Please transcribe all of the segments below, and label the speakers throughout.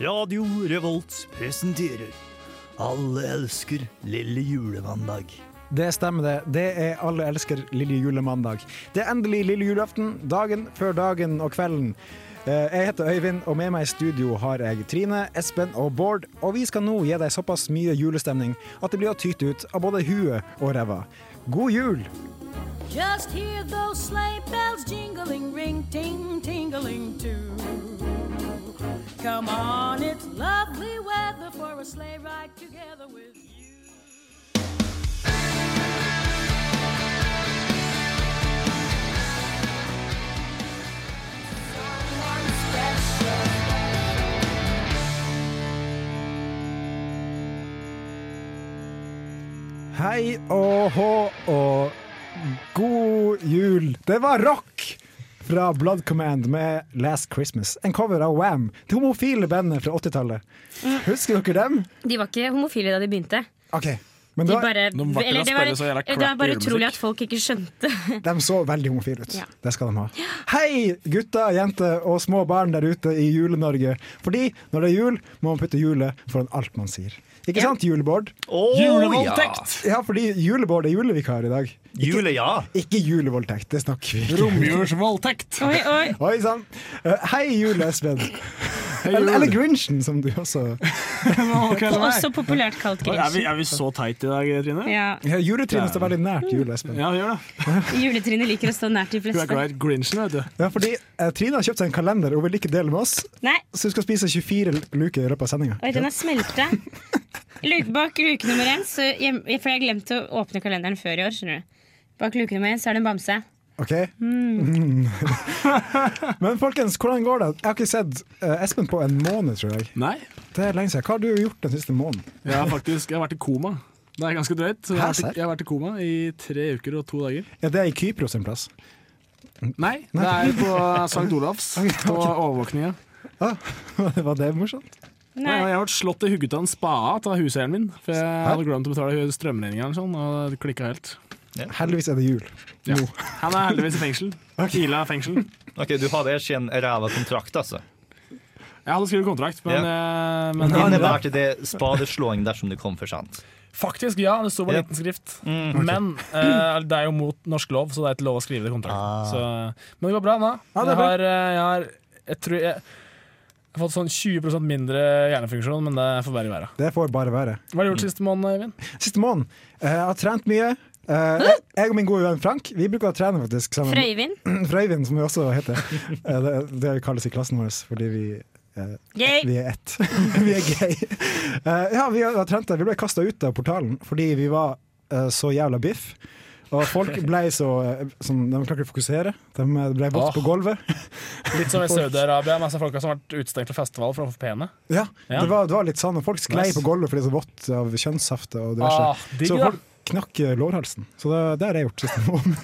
Speaker 1: Radio Revolt presenterer Alle elsker lille julemandag.
Speaker 2: Det stemmer, det. Det er Alle elsker lille julemandag. Det er endelig lille julaften. Dagen før dagen og kvelden. Eh, Jeg heter Øyvind, og med meg i studio har jeg Trine, Espen og Bård. Og vi skal nå gi deg såpass mye julestemning at det blir å tyte ut av både huet og ræva. God jul!
Speaker 3: Just hear those sleigh bells jingling, ring ting tingling too. Come on, it's lovely weather for a sleigh ride together with you.
Speaker 2: Hei og hå og god jul. Det var rock fra Blood Command med Last Christmas. En cover av Wham, det homofile bandet fra 80-tallet. Husker dere dem?
Speaker 4: De var ikke homofile da de begynte.
Speaker 2: OK. Men
Speaker 4: De
Speaker 2: da,
Speaker 4: bare,
Speaker 5: De var ikke
Speaker 4: eller
Speaker 5: da
Speaker 4: det, var,
Speaker 5: spille så jævla
Speaker 4: det er
Speaker 5: crappy
Speaker 4: bare
Speaker 5: julemusikk.
Speaker 4: utrolig at folk ikke skjønte.
Speaker 2: de så veldig homofile ut.
Speaker 4: Ja.
Speaker 2: Det skal de ha. Hei, gutter, jenter og små barn der ute i Jule-Norge. Fordi når det er jul, må man putte julet foran alt man sier. Ikke sant, julebord?
Speaker 1: Oh,
Speaker 5: Julevoldtekt!
Speaker 2: Ja, fordi julebord er julevikar i dag.
Speaker 1: Ja. Jule, ja.
Speaker 2: Ikke julevoldtekt, det snakker vi ikke om.
Speaker 5: Romjulsvoldtekt!
Speaker 4: Oi, oi.
Speaker 2: Oi sann. Eh, Hei, Jule Espen. Eller, eller Grinchen, som du også
Speaker 4: Også populært kalt
Speaker 5: Er vi,
Speaker 4: Grinchen.
Speaker 5: er vi så teit i dag, Trine?
Speaker 4: Ja.
Speaker 2: Ja, Juletrinnet står veldig nært Jule Espen.
Speaker 5: Ja, vi gjør det.
Speaker 4: Juletrinnet liker å stå nært de
Speaker 5: Du er
Speaker 4: fleste.
Speaker 5: glad i Grinchen, vet du.
Speaker 2: Ja, fordi eh, Trine har kjøpt seg en kalender og vil ikke dele med oss,
Speaker 4: Nei,
Speaker 2: så hun skal spise 24 luker i løpet av sendinga.
Speaker 4: oi, den er smelta. Luke bak luke nummer én, så hjem, for jeg glemte å åpne kalenderen før i år. skjønner du Bak luke nummer én så er det en bamse.
Speaker 2: Ok? Mm. Men folkens, hvordan går det? Jeg har ikke sett eh, Espen på en måned, tror jeg.
Speaker 5: Nei.
Speaker 2: Det er lenge siden. Hva har du gjort den siste måneden?
Speaker 5: Jeg har faktisk jeg har vært i koma. Det er ganske drøyt. så Jeg
Speaker 2: Hæ,
Speaker 5: har,
Speaker 2: serr?
Speaker 5: vært, i- jeg har vært i koma i tre uker og to dager.
Speaker 2: Ja, det er i Kypros en plass.
Speaker 5: Nei, det er på St. Olavs, på overvåkninga.
Speaker 2: Var det morsomt?
Speaker 5: Nei,
Speaker 4: Nei,
Speaker 5: Jeg ble slått i hugget av en spade av huseieren min, for jeg hadde glemt å betale strømregninga eller sånn, og det klikka helt.
Speaker 2: Heldigvis er det jul.
Speaker 5: Ja. Han er heldigvis i fengsel. Ila fengsel.
Speaker 1: Ok, Du har hver sin ræva kontrakt, altså.
Speaker 5: Jeg hadde skrevet kontrakt, men, eh, men
Speaker 1: Innebærte det spadeslåing dersom du kom for sent?
Speaker 5: Faktisk, ja. Det sto på
Speaker 1: Ja.
Speaker 5: liten skrift. Men eh, det er jo mot norsk lov, så det er ikke lov å skrive det i kontrakten. Så, men det går bra nå.
Speaker 2: Ja, det er
Speaker 5: jeg,
Speaker 2: bra.
Speaker 5: har, eh, jeg har jeg tror jeg, jeg har fått sånn 20 mindre hjernefunksjon, men det får bare være.
Speaker 2: Det får bare være.
Speaker 5: Hva har du gjort siste måned, Øyvind?
Speaker 2: Siste måneden. eh, Jeg har trent mye. Eh, jeg- jeg og min gode venn Frank Vi bruker å trene faktisk sammen.
Speaker 4: Frøyvind.
Speaker 2: Frøyvind, som vi også heter. Eh, det, det kalles i klassen vår fordi vi, eh,
Speaker 4: Gøy.
Speaker 2: vi er ett. vi er gay. Eh, ja, vi har, har trent det. Vi ble kasta ut av portalen fordi vi var eh, så jævla biff. Og folk ble så eh, sånn, De klarte ikke å fokusere. De eh, ble vått på
Speaker 5: Åh.
Speaker 2: gulvet.
Speaker 5: Litt som i Saudi-Arabia, masse folk som har vært utestengt fra festival for å få pene.
Speaker 2: Ja,
Speaker 5: Ja.
Speaker 2: Det, var, det var litt sånn. Og folk sklei
Speaker 5: Nice.
Speaker 2: på gulvet fordi det var så vått av kjønnssafte og diverse.
Speaker 5: Ah, digg,
Speaker 2: så
Speaker 5: da.
Speaker 2: folk knakk eh, lårhalsen. Så det, det har jeg gjort siste måned.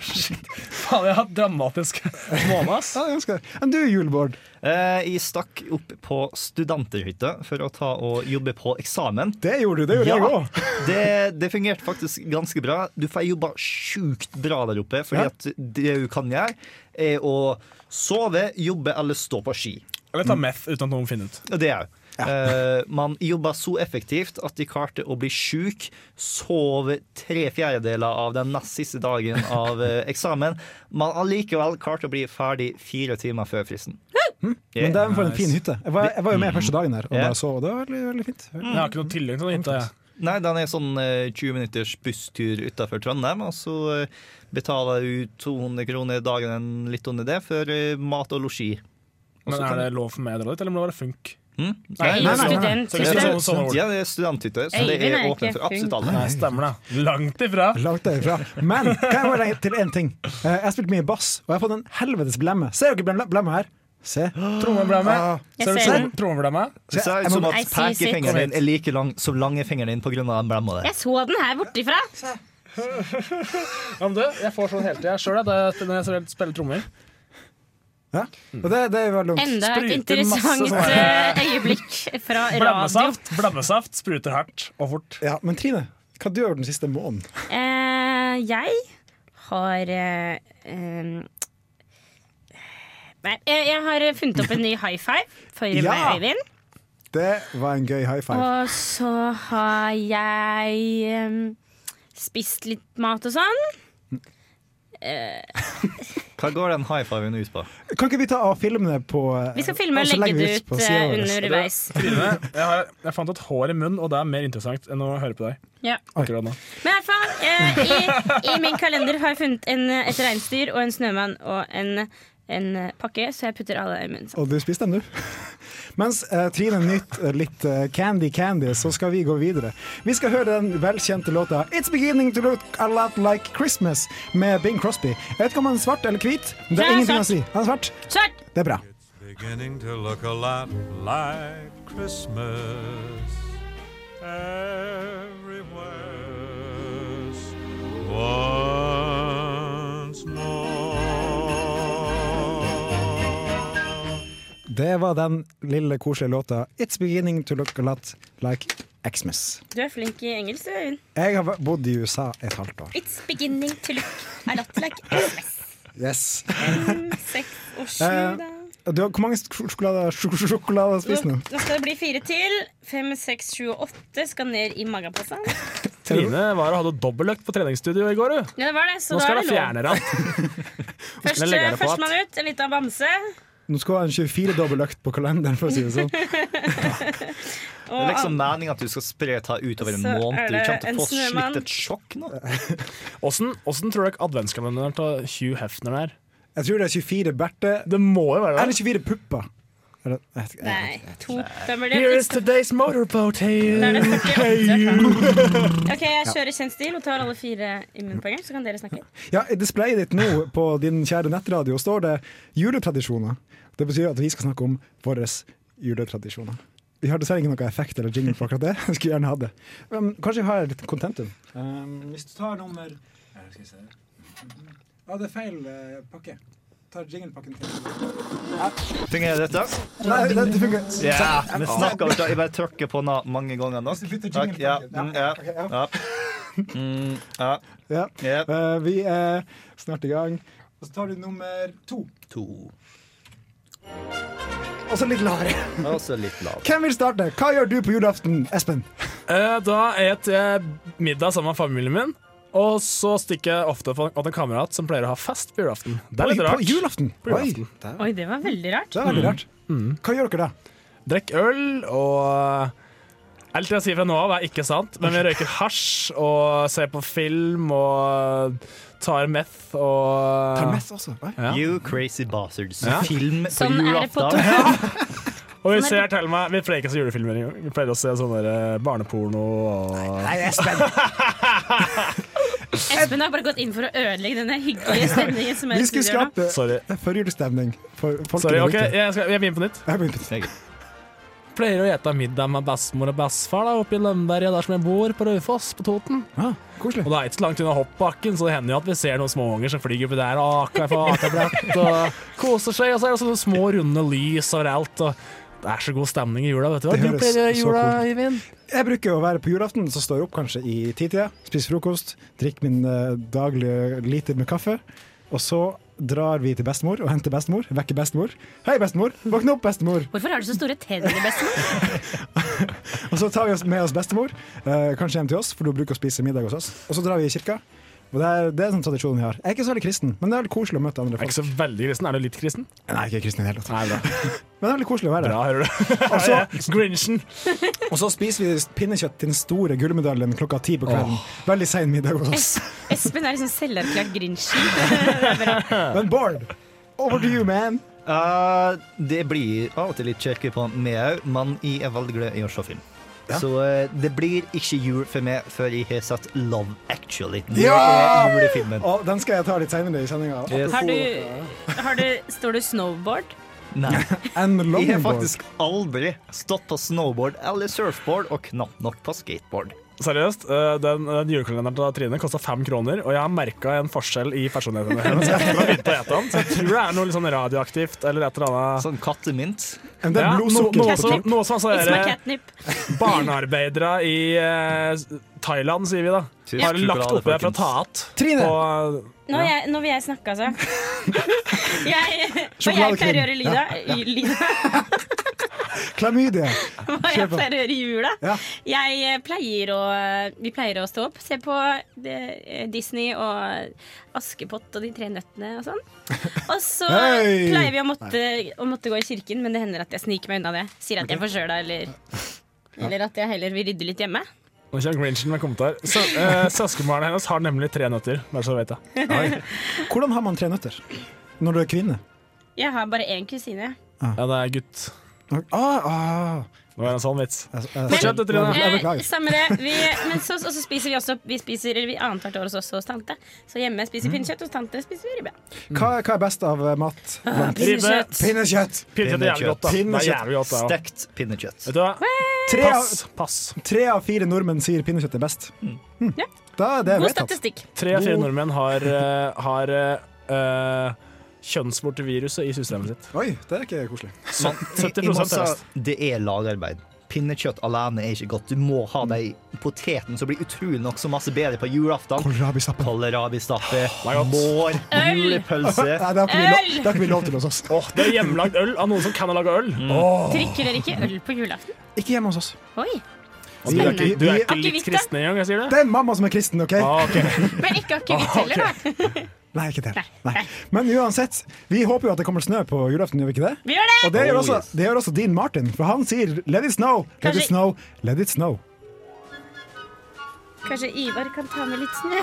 Speaker 5: Faen, jeg har hatt dramatisk måned, ass.
Speaker 2: Ja, jeg ønsker det. Men du, julebord.
Speaker 1: Eh, jeg stakk opp på studenterhytta for å ta og jobbe på eksamen.
Speaker 2: Det gjorde du, det gjorde jeg
Speaker 1: Ja,
Speaker 2: òg.
Speaker 1: det, det fungerte faktisk ganske bra. Du får jobba sjukt bra der oppe, fordi
Speaker 2: Ja.
Speaker 1: at det du kan gjøre, er å sove, jobbe eller stå på ski.
Speaker 5: Eller ta meth uten at noen finner ut.
Speaker 1: Og Det er jo. Eh, man jobba så effektivt at de klarte å bli sjuk, sov tre fjerdedeler av den nest siste dagen av eh, eksamen, men allikevel klarte å bli ferdig fire timer før fristen. Yeah.
Speaker 2: Hm? Men det er for en fin hytte. Jeg var, jeg var jo
Speaker 5: Mm.
Speaker 2: med første dagen der og
Speaker 1: Ja.
Speaker 2: bare så, og det var veldig, veldig fint.
Speaker 5: Jeg har ikke noe tillegg til den hytta, jeg.
Speaker 1: Nei, den er sånn eh, 20 minutters busstur utafor Trondheim, og så eh, betaler du 200 kroner dagen enn litt under det for eh, mat og losji.
Speaker 5: Men er det lov for meg å dra dit, eller må det være funk?
Speaker 1: Hm?
Speaker 4: Jeg er
Speaker 2: nei,
Speaker 4: jo
Speaker 2: nei, nei.
Speaker 4: student.
Speaker 5: Så
Speaker 1: Det
Speaker 5: det er
Speaker 4: Espen.
Speaker 1: er,
Speaker 5: sånn- sånn ord.
Speaker 1: ja, det er studenthytte, så det
Speaker 4: Øyvind
Speaker 1: er
Speaker 4: er ikke
Speaker 1: åpent for absolutt
Speaker 4: full.
Speaker 1: alle.
Speaker 5: Nei, stemmer det. Langt ifra.
Speaker 2: Langt derifra. Men kan jeg bare legge til én ting? Eh, Jeg har spilt mye bass, og jeg har fått en helvetes blemme. Ser dere blemme- blemma her? Se.
Speaker 5: Trommeblamme.
Speaker 2: Ah.
Speaker 4: Jeg
Speaker 5: Ser du sånn?
Speaker 4: ser
Speaker 5: trom-
Speaker 4: den.
Speaker 5: trommeblamme?
Speaker 1: Det
Speaker 2: Så
Speaker 1: ser
Speaker 2: jeg- jeg
Speaker 1: ut som
Speaker 2: må-
Speaker 1: at
Speaker 4: Nei, si sitt.
Speaker 1: pekefingeren din er like lang som langefingeren din pga. den blemma der.
Speaker 4: Jeg så den her bortifra.
Speaker 5: Ja, men du, jeg får sånn hele tida sjøl når jeg selv spiller trommer.
Speaker 2: Ja. Og det, det er jo veldig dumt.
Speaker 4: Enda et
Speaker 5: Spruter
Speaker 4: interessant
Speaker 5: masse sånn
Speaker 4: eh, øyeblikk fra radio.
Speaker 5: Blemmesaft, blemmesaft spruter hardt og fort.
Speaker 2: Ja, men Trine, hva du gjør den siste måneden?
Speaker 4: Eh, jeg har eh, em, Nei, jeg, jeg har funnet opp en ny high five for
Speaker 2: Ja.
Speaker 4: Øyvind.
Speaker 2: Det var en gøy high five.
Speaker 4: Og så har jeg em, spist litt mat og sånn.
Speaker 1: Hva går den high fiven ut på?
Speaker 2: Kan ikke vi ta av filmene på eh,
Speaker 4: Vi skal filme
Speaker 2: og
Speaker 4: og
Speaker 2: så legger vi
Speaker 4: legge det
Speaker 2: på
Speaker 4: ut eh,
Speaker 2: siden vår?
Speaker 4: underveis.
Speaker 5: Trine, jeg, har, jeg fant et hår i munnen, og det er mer interessant enn å høre på deg.
Speaker 4: Ja.
Speaker 5: akkurat nå
Speaker 4: Men i hvert fall, eh, i, i min kalender har jeg funnet en, eh, et reinsdyr og en snømann og en, en eh, pakke, så jeg putter alle i munnen. sammen.
Speaker 2: Og du spiste den, du. Mens eh, Trine nyter litt eh, Candy Candy, så skal vi gå videre. Vi skal høre den velkjente låta It's Beginning To Look A Lot Like Christmas med Bing Crosby. Jeg vet ikke om han er svart eller hvit. Det
Speaker 4: Jeg
Speaker 2: er
Speaker 4: er
Speaker 2: ingenting å
Speaker 4: svart.
Speaker 2: si. Han er svart.
Speaker 4: Svart!
Speaker 2: Det er bra.
Speaker 6: beginning to look a lot like Christmas everywhere once more.
Speaker 2: Det var den lille koselige låta It's Beginning To Look A Lot Like Xmas.
Speaker 4: Du er flink i engelsk, du, Øyvind.
Speaker 2: Jeg har væ- bodd i USA et halvt år.
Speaker 4: It's beginning to look a lot like Christmas.
Speaker 2: Yes.
Speaker 4: Seks og sju,
Speaker 2: Eh,
Speaker 4: da.
Speaker 2: Du har, hvor mange sjok- sjokolader sjok- sjokolader har du
Speaker 4: Nå,
Speaker 2: spist nå?
Speaker 4: nå skal det bli fire til. Fem, seks, sju og åtte skal ned i mageposen.
Speaker 5: Trine var og hadde dobbeltøkt på treningsstudio i går, du.
Speaker 4: Ja, det var det, så
Speaker 5: Nå
Speaker 4: da er
Speaker 5: skal du
Speaker 4: det lov.
Speaker 5: fjerne deg.
Speaker 4: Først,
Speaker 5: jeg legge det på
Speaker 4: Førstemann ut, en liten bamse.
Speaker 2: Nå skal jeg ha en 24-dobbel økt på kalenderen, for å si det sånn.
Speaker 1: Det er
Speaker 4: Og
Speaker 1: liksom meningen at du skal spre dette utover en
Speaker 4: Ah. Så
Speaker 1: måned.
Speaker 4: er
Speaker 1: Du
Speaker 4: det
Speaker 1: kommer til
Speaker 4: en
Speaker 1: å få
Speaker 4: snømann.
Speaker 1: slikt et sjokk nå.
Speaker 5: Åssen åssen tror dere adventskalenderen til Hugh Hefner er?
Speaker 2: Jeg tror det er 24 Berthe.
Speaker 5: Det må jo være
Speaker 2: Eller
Speaker 5: det.
Speaker 2: 24 pupper. Eller, jeg vet ikke, jeg
Speaker 4: Nei,
Speaker 2: vet
Speaker 4: to. Da blir
Speaker 5: Here
Speaker 4: det
Speaker 5: is today's motorboat, hey
Speaker 4: Da er det
Speaker 5: you. Hey
Speaker 4: 48.
Speaker 5: you.
Speaker 4: OK, jeg kjører kjent stil og tar alle fire i munnen på en gang, så kan dere snakke.
Speaker 2: ikke. Ja, I displayet ditt nå på din kjære nettradio står det 'juletradisjoner'. Det betyr at vi skal snakke om våre juletradisjoner. Vi har dessverre ikke noe effekt eller jingle for akkurat det. Jeg skulle gjerne hatt det. Men kanskje vi har et lite contentum. Ehm, hvis du tar nummer Ja, det er feil eh, pakke. Ta jinglepakken til.
Speaker 1: Fungerer dette?
Speaker 2: Nei, det, det funker.
Speaker 1: Ja, vi snakker om det. Jeg bare trykker på den mange ganger nok.
Speaker 2: Hvis du bytter
Speaker 1: Takk.
Speaker 2: jingle
Speaker 1: Ja,
Speaker 2: på den.
Speaker 1: mm, ja,
Speaker 2: Ok, ja.
Speaker 1: ja. Mm, ja,
Speaker 2: Ja.
Speaker 1: ja.
Speaker 2: Eh, vi er snart i gang. Og så tar du nummer to.
Speaker 1: To.
Speaker 2: Og så litt lavere.
Speaker 1: Og så litt lav.
Speaker 2: Hvem vil starte? Hva gjør du på julaften, Espen?
Speaker 5: Eh, Da et jeg middag sammen med familien min. Og så stikker jeg ofte for åt en kamerat som pleier å ha fest på julaften. Det er litt
Speaker 2: På
Speaker 5: rart.
Speaker 2: julaften?
Speaker 5: På julaften.
Speaker 2: Oi, det er-
Speaker 4: Oi, det var veldig rart.
Speaker 2: det er
Speaker 5: Mm.
Speaker 2: veldig rart. Hva gjør dere da?
Speaker 5: Drikk øl og eh, Alt jeg sier fra nå av, er ikke sant, men vi røyker hasj og ser på film og tar meth og
Speaker 2: Tar meth også. Oi.
Speaker 5: Ja.
Speaker 1: You crazy bastards.
Speaker 5: Ja.
Speaker 1: Film på
Speaker 4: Sånn er det på
Speaker 1: julaften.
Speaker 5: Og
Speaker 2: Sånn
Speaker 5: vi ser til og med Vi pleier ikke å se julefilmer engang. Vi pleier å se sånn der eh, barneporno og
Speaker 2: Nei, Espen,
Speaker 4: Espen har bare gått inn for å ødelegge den der hyggelige stemningen som er
Speaker 2: vi
Speaker 4: i
Speaker 2: skulle
Speaker 4: studio nå.
Speaker 2: skape
Speaker 5: Sorry.
Speaker 2: førjulsstemning for folk
Speaker 5: Sorry,
Speaker 2: der
Speaker 5: ok,
Speaker 2: ute.
Speaker 5: jeg, skal, jeg begynner på nytt.
Speaker 2: Jeg begynte.
Speaker 5: Pleier å ete middag med bestemor og bestefar da, oppe i Lønneberget, der som jeg bor, på Raufoss, på Toten.
Speaker 2: Ah,
Speaker 5: Og
Speaker 2: koselig.
Speaker 5: det er ikke så langt unna hoppbakken, så det hender jo at vi ser noen småunger som flyr oppi der og aker på akebrett og koser seg. Og så er det sånne små, runde lys overalt. Og det er så god stemning i jula, vet du. Hva
Speaker 2: Det
Speaker 5: du
Speaker 2: høres
Speaker 5: pleier å gjøre i
Speaker 2: så
Speaker 5: jula,
Speaker 2: cool
Speaker 5: Øyvind?
Speaker 2: Jeg bruker å være på julaften, så står jeg opp kanskje i titida, spiser frokost, drikker min eh, daglige liter med kaffe, og så drar vi til bestemor og henter bestemor, vekker bestemor. Hei, bestemor! Våkne opp, bestemor!
Speaker 4: Hvorfor har du så store tenner, bestemor?
Speaker 2: Og så tar vi oss med oss bestemor, eh, kanskje hjem til oss, for hun bruker å spise middag hos oss. Og så drar vi i kirka. Og det er, det er en sånn tradisjon vi har. Jeg er ikke så veldig kristen, men det er veldig koselig å møte andre
Speaker 5: Jeg er
Speaker 2: folk.
Speaker 5: ikke så veldig kristen. Er du litt kristen?
Speaker 2: Nei, ikke kristen i det hele tatt.
Speaker 5: Nei, bra.
Speaker 2: Men det er veldig koselig å være
Speaker 5: bra
Speaker 2: der.
Speaker 5: hører du.
Speaker 2: Og så-
Speaker 5: Grinchen.
Speaker 2: Og så spiser vi pinnekjøtt til den store gullmedaljen klokka ti på kvelden. Veldig sein middag hos oss.
Speaker 4: Espen er liksom selverklært grinsjen.
Speaker 2: Men Bård, over to you, man.
Speaker 1: Eh, det blir av og til litt kjekke på meg òg, men jeg er veldig glad i å se film. Så eh, det blir ikke jul for meg før jeg har sett Love Actually. Det
Speaker 2: Ja!
Speaker 1: er julefilmen.
Speaker 2: Og den skal jeg ta litt seinere i sendinga.
Speaker 1: Yes.
Speaker 4: Har du, har du Står du snowboard?
Speaker 1: Nei.
Speaker 2: En
Speaker 1: Jeg har
Speaker 2: longboard.
Speaker 1: faktisk aldri stått på snowboard eller surfboard, og knapt nok på skateboard.
Speaker 5: Seriøst, eh, den, den julekalenderen til Trine kosta fem kroner, og jeg har merka en forskjell i personligheten hennes. etter at hun begynte å ete den. Så jeg tror det er noe litt sånn radioaktivt eller et eller annet.
Speaker 1: Sånn kattemynt.
Speaker 2: Men Det
Speaker 5: Ja,
Speaker 2: er blodsukker.
Speaker 5: Noe, noe,
Speaker 2: på
Speaker 5: som-
Speaker 2: tur.
Speaker 5: noe som altså
Speaker 4: It's my
Speaker 5: dere
Speaker 4: catnip.
Speaker 5: barnearbeidere i eh, Thailand, sier vi da,
Speaker 1: Tusen
Speaker 5: har lagt
Speaker 1: sjokolade,
Speaker 5: oppi der for å ta
Speaker 2: Trine!
Speaker 5: igjen.
Speaker 4: Nå, er jeg, nå vil jeg snakke, altså. Jeg, og jeg
Speaker 2: Sjokoladekrim.
Speaker 4: pleier å gjøre lyda. Lyda.
Speaker 2: Klamydia.
Speaker 4: Hva
Speaker 2: Kjør
Speaker 4: jeg
Speaker 2: på.
Speaker 4: pleier å gjøre i jula?
Speaker 2: Ja.
Speaker 4: Jeg eh, pleier å, eh, vi pleier å stå opp, se på eh, Disney og Askepott og De tre nøttene og sånn. Og så
Speaker 2: Hei!
Speaker 4: pleier vi å måtte, å måtte gå i kirken, men det hender at jeg sniker meg unna det. Sier at jeg er forkjøla, eller, eller at jeg heller vil rydde litt hjemme.
Speaker 5: Nå kommer Grinchen med kommentar. Så, eh, Søskenbarnet hennes har nemlig tre nøtter. Bare så du vet det.
Speaker 2: Hvordan har man tre nøtter når du er kvinne?
Speaker 4: Jeg har bare én kusine.
Speaker 5: Ja, det er gutt.
Speaker 2: Ah, ah.
Speaker 5: Det var en sånn vits.
Speaker 2: Jeg, jeg,
Speaker 5: Fortsett, Trine.
Speaker 2: jeg- jeg
Speaker 4: Eh,
Speaker 2: beklager.
Speaker 4: samme det. Vi, men så, og så spiser vi også Vi spiser, eller vi annethvert år hos oss hos tante. Så hjemme spiser
Speaker 2: Mm.
Speaker 4: vi pinnekjøtt, hos tante spiser vi ribbe.
Speaker 2: Hva, hva er best av eh, mat?
Speaker 5: Ribbe,
Speaker 2: Pinnekjøtt!
Speaker 5: pinnekjøtt er jævlig godt. da. Det er
Speaker 1: Pinnekjøtt.
Speaker 5: jævlig godt, det, ja.
Speaker 1: Stekt pinnekjøtt.
Speaker 5: Vet du hva?
Speaker 2: Tre av,
Speaker 5: Pass. Pass.
Speaker 2: tre av fire nordmenn sier pinnekjøtt er best. Hm.
Speaker 4: Ja.
Speaker 2: Da er det
Speaker 4: God
Speaker 2: vedtatt.
Speaker 4: statistikk.
Speaker 5: Tre av fire nordmenn har, eh, har eh, kjønnsvorteviruset i systemet sitt.
Speaker 2: Oi, det er ikke koselig.
Speaker 1: Men i-
Speaker 5: 70%
Speaker 1: i Mossa,
Speaker 5: er best.
Speaker 1: Det er lagarbeid. Pinnekjøtt alene er ikke godt. Du må
Speaker 5: Mm.
Speaker 1: ha de potetene som blir utrolig nok så masse bedre på julaften.
Speaker 2: Kålrabistappe.
Speaker 1: Kålrabistappe,
Speaker 5: er godt.
Speaker 1: mår, julepølse.
Speaker 2: Nei, det har ikke vi lov- det har ikke vi lov til hos oss.
Speaker 5: Åh, det er hjemmelagd øl av noen som kan ha laga øl.
Speaker 4: Drikker dere ikke øl på julaften?
Speaker 2: Ikke hjemme hos oss.
Speaker 4: Oi.
Speaker 5: Og du, er ikke, du er ikke
Speaker 4: Akevitt,
Speaker 5: litt
Speaker 4: da?
Speaker 5: kristen engang, jeg sier det?
Speaker 2: Det er mamma som er kristen, OK?
Speaker 5: Ah, ok.
Speaker 4: Men ikke akevitt heller, da.
Speaker 2: Nei, ikke det. Nei. Men uansett, vi håper jo at det kommer snø på julaften, gjør vi ikke det?
Speaker 4: Vi gjør det!
Speaker 2: Og det gjør
Speaker 1: Oh,
Speaker 2: også,
Speaker 1: yes.
Speaker 2: det gjør også Dean Martin, for han sier 'let it snow', 'let it
Speaker 4: Kanskje-
Speaker 2: snow', 'let it snow'.
Speaker 4: Kanskje Ivar kan ta med litt snø?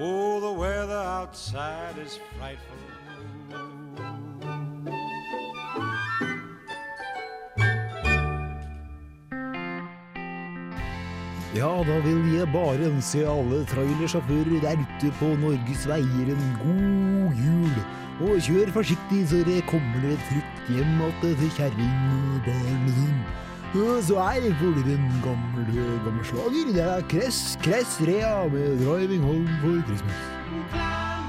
Speaker 6: Oh, the weather outside is frightful.
Speaker 7: Ja, da vil jeg bare ønske alle trailersjåfører der ute på Norges veier en god jul. Og kjør forsiktig så det kommer dere trygt hjem att til kjerring og barnet din. Og så er det for dere en gammel, gammel slager. Det er Kress, Kress Rea med 'Driving Home for Christmas'.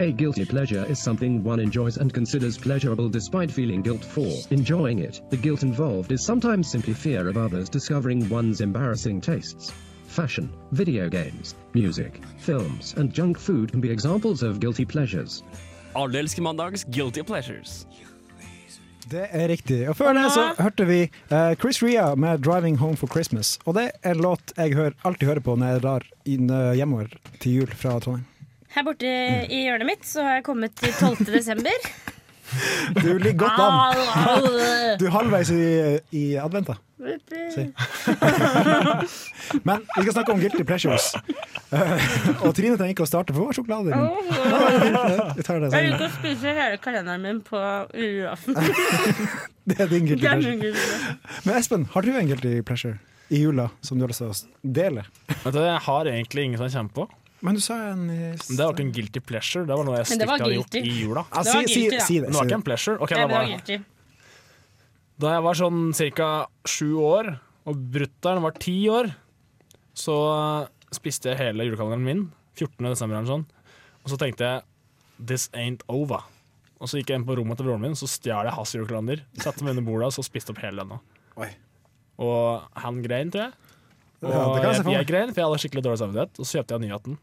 Speaker 8: A guilty pleasure is something one enjoys and considers pleasurable despite feeling guilt for enjoying it. The guilt involved is sometimes simply fear of others discovering one's embarrassing tastes. Fashion, video games, music, films, and junk food can be examples of guilty pleasures.
Speaker 9: Alle elsker mandags guilty pleasures.
Speaker 2: Det er riktig. Og før det så hørte vi eh, Chris Ria med 'Driving Home for Christmas'. Og det er en låt jeg hører, alltid hører på når jeg drar inn eh, hjemover til jul fra Trondheim.
Speaker 4: Her borte i hjørnet mitt så har jeg kommet til 12. desember.
Speaker 2: Du ligger godt an.
Speaker 4: Au, au.
Speaker 2: Du er halvveis i, i advent, da. Men vi skal snakke om guilty pleasures. Eh, og Trine trenger ikke å starte, for hun har sjokolade i munnen. Vi tar det
Speaker 4: Jeg
Speaker 2: senere.
Speaker 4: liker å spise hele kalenderen min på julaften.
Speaker 2: Det er din guilty
Speaker 4: Det er
Speaker 2: pleasure.
Speaker 4: min guilty.
Speaker 2: Men Espen, har du en guilty pleasure i jula som du har lyst til å dele?
Speaker 5: Vet du, jeg har egentlig ingen som jeg kommer på.
Speaker 2: Men du sa en i
Speaker 5: Men Det var ikke en guilty pleasure. Det var noe jeg
Speaker 4: Men det
Speaker 5: stygt
Speaker 4: var
Speaker 5: hadde gjort
Speaker 4: guilty.
Speaker 5: i jula.
Speaker 2: Ja,
Speaker 4: Det var
Speaker 2: si, si,
Speaker 4: guilty, da.
Speaker 2: si det.
Speaker 5: Men det
Speaker 2: Si
Speaker 5: var
Speaker 2: det.
Speaker 5: ikke en pleasure. Ok,
Speaker 4: Nei,
Speaker 5: da
Speaker 4: men det
Speaker 5: var
Speaker 4: var
Speaker 5: det.
Speaker 4: guilty.
Speaker 5: Da jeg var sånn ca. sju år, og brutter'n var ti år, så eh, spiste jeg hele julekalenderen min, 14. desember eller sånn, og så tenkte jeg This ain't over. Og så gikk jeg inn på rommet til broren min, så stjal jeg hans julekalender, satte meg under bordet og så spiste opp hele denne.
Speaker 2: Oi.
Speaker 5: Og han grein, tror jeg. Og
Speaker 2: Ja, det kan jeg se
Speaker 5: jeg,
Speaker 2: for Ah. meg.
Speaker 5: jeg grein, for jeg hadde skikkelig dårlig samvittighet, og så kjøpte jeg en ny hatten.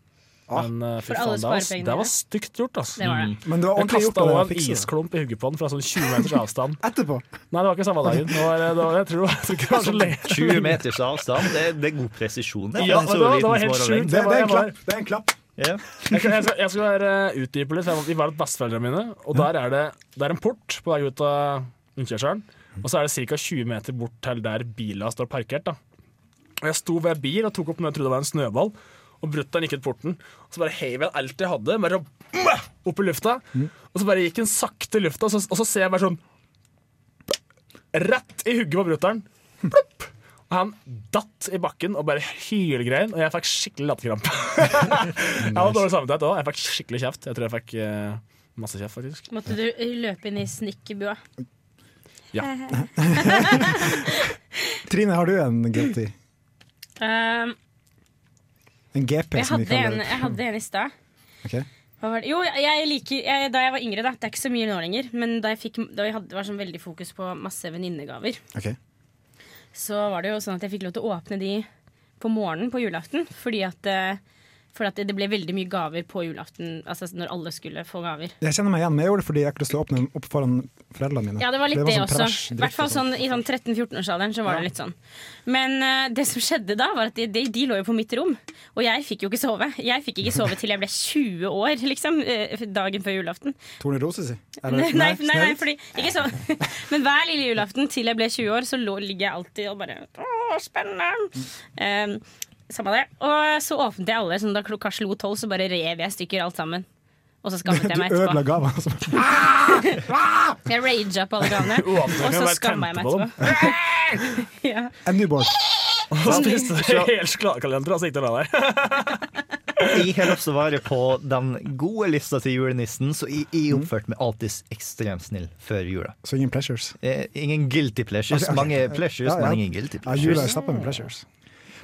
Speaker 5: Men eh, fy
Speaker 4: For
Speaker 5: faen,
Speaker 4: alle
Speaker 5: det var,
Speaker 4: sparepengene
Speaker 5: det
Speaker 4: dine.
Speaker 5: var stygt gjort, altså.
Speaker 4: Det var det.
Speaker 2: Men du har
Speaker 5: Jeg
Speaker 2: ordentlig gjort
Speaker 5: kasta
Speaker 2: det.
Speaker 5: òg
Speaker 2: og
Speaker 5: en
Speaker 2: fikset det.
Speaker 5: isklump i hugget på den fra sånn 20 meters avstand.
Speaker 2: Etterpå.
Speaker 5: Nei, det var ikke samme dagen. Det var, det var, jeg, tror, jeg tror ikke det var så lenge.
Speaker 1: 20 meters avstand, det, det er god presisjon. det.
Speaker 5: Ja,
Speaker 1: En
Speaker 5: vet
Speaker 1: så
Speaker 5: du hva, det
Speaker 1: liten
Speaker 5: var helt
Speaker 1: smårolling.
Speaker 5: sjukt.
Speaker 2: Det, det, er
Speaker 5: Jeg
Speaker 2: en
Speaker 5: var-
Speaker 2: klapp. det er en klapp.
Speaker 1: Ja.
Speaker 5: Jeg, skal- jeg skal, jeg skal være eh, utdype litt. for jeg var- Vi var hos besteforeldrene mine, og der er det, det er en port på vei ut av innkjørselen. Og så er det ca. 20 meter bort til der bila står parkert. da. Og Jeg sto ved en bil og tok opp noe jeg trodde var en snøball, og brutter'n gikk ut porten. Og så bare heiv jeg alt jeg hadde, bare opp i lufta. Og så bare gikk den sakte i lufta, og så, og så ser jeg bare sånn Rett i hugget på brutter'n. Plopp. Og han datt i bakken og bare hylgrein, og jeg fikk skikkelig latterkrampe. Jeg hadde dårlig samvittighet òg. Jeg fikk skikkelig kjeft. Jeg tror jeg fikk eh, masse kjeft, faktisk.
Speaker 4: Måtte du løpe inn i snekkerbua?
Speaker 2: Trine, har du en guilty?
Speaker 4: Um,
Speaker 2: En GP,
Speaker 4: jeg,
Speaker 2: som vi
Speaker 4: Ehm, hadde en,
Speaker 2: kaller det.
Speaker 4: jeg hadde en i stad.
Speaker 2: Ok.
Speaker 4: Hva var det? Jo, jeg liker jeg, Da jeg var yngre, da. Det er ikke så mye nå lenger. Men da jeg fikk Da jeg hadde, var sånn veldig fokus på masse venninnegaver,
Speaker 2: Ok.
Speaker 4: så var det jo sånn at jeg fikk lov til å åpne de på morgenen på julaften. Fordi at, eh, fordi at det ble veldig mye gaver på julaften, altså når alle skulle få gaver.
Speaker 2: Jeg kjenner meg igjen, men jeg gjorde det fordi jeg ikke hadde lyst til å åpne den opp foran foreldrene mine.
Speaker 4: Ja, det var litt
Speaker 2: For
Speaker 4: det,
Speaker 2: sånn
Speaker 4: også.
Speaker 2: trash
Speaker 4: I
Speaker 2: dritt
Speaker 4: hvert fall
Speaker 2: og
Speaker 4: sånn, i sånn 13-14-årsalderen så var det litt sånn. Men eh, det som skjedde da, var at de, de, de lå jo på mitt rom, og jeg fikk jo ikke sove. Jeg fikk ikke sove til jeg ble 20 år, liksom. eh, Dagen før julaften.
Speaker 2: Torne Rose, si. Eller-
Speaker 4: Nei, nei, nei,
Speaker 2: Snøhvit?
Speaker 4: fordi ikke så. Men hver lille julaften til jeg ble 20 år, så lå, ligger jeg alltid og bare Å, spennende! Um, samme det. Og så åpnet jeg alle, sånn da klokka slo tolv, så bare rev jeg i stykker alt sammen. Og så skammet jeg meg
Speaker 2: Du ødela
Speaker 4: etterpå.
Speaker 2: gaven. altså.
Speaker 4: Jeg raga på alle gavene.
Speaker 5: Åpnet
Speaker 4: Og
Speaker 5: den,
Speaker 4: så
Speaker 5: bare
Speaker 4: skamma jeg meg
Speaker 5: tente på
Speaker 4: etterpå. ja.
Speaker 2: En newborn.
Speaker 5: Helt slakalender, altså. Ikke la deg.
Speaker 1: Jeg har lyst til å være på den gode lista til julenissen, så jeg, jeg
Speaker 2: Mm.
Speaker 1: oppførte meg alltid ekstremt snill før jula.
Speaker 2: Så ingen pleasures.
Speaker 1: Eh, Ingen guilty pleasures.
Speaker 2: Ok, ok.
Speaker 1: Mange pleasures,
Speaker 2: Ja, ja.
Speaker 1: men ingen guilty
Speaker 2: Ja, jula er
Speaker 1: pleasures.
Speaker 2: stappa med pleasures.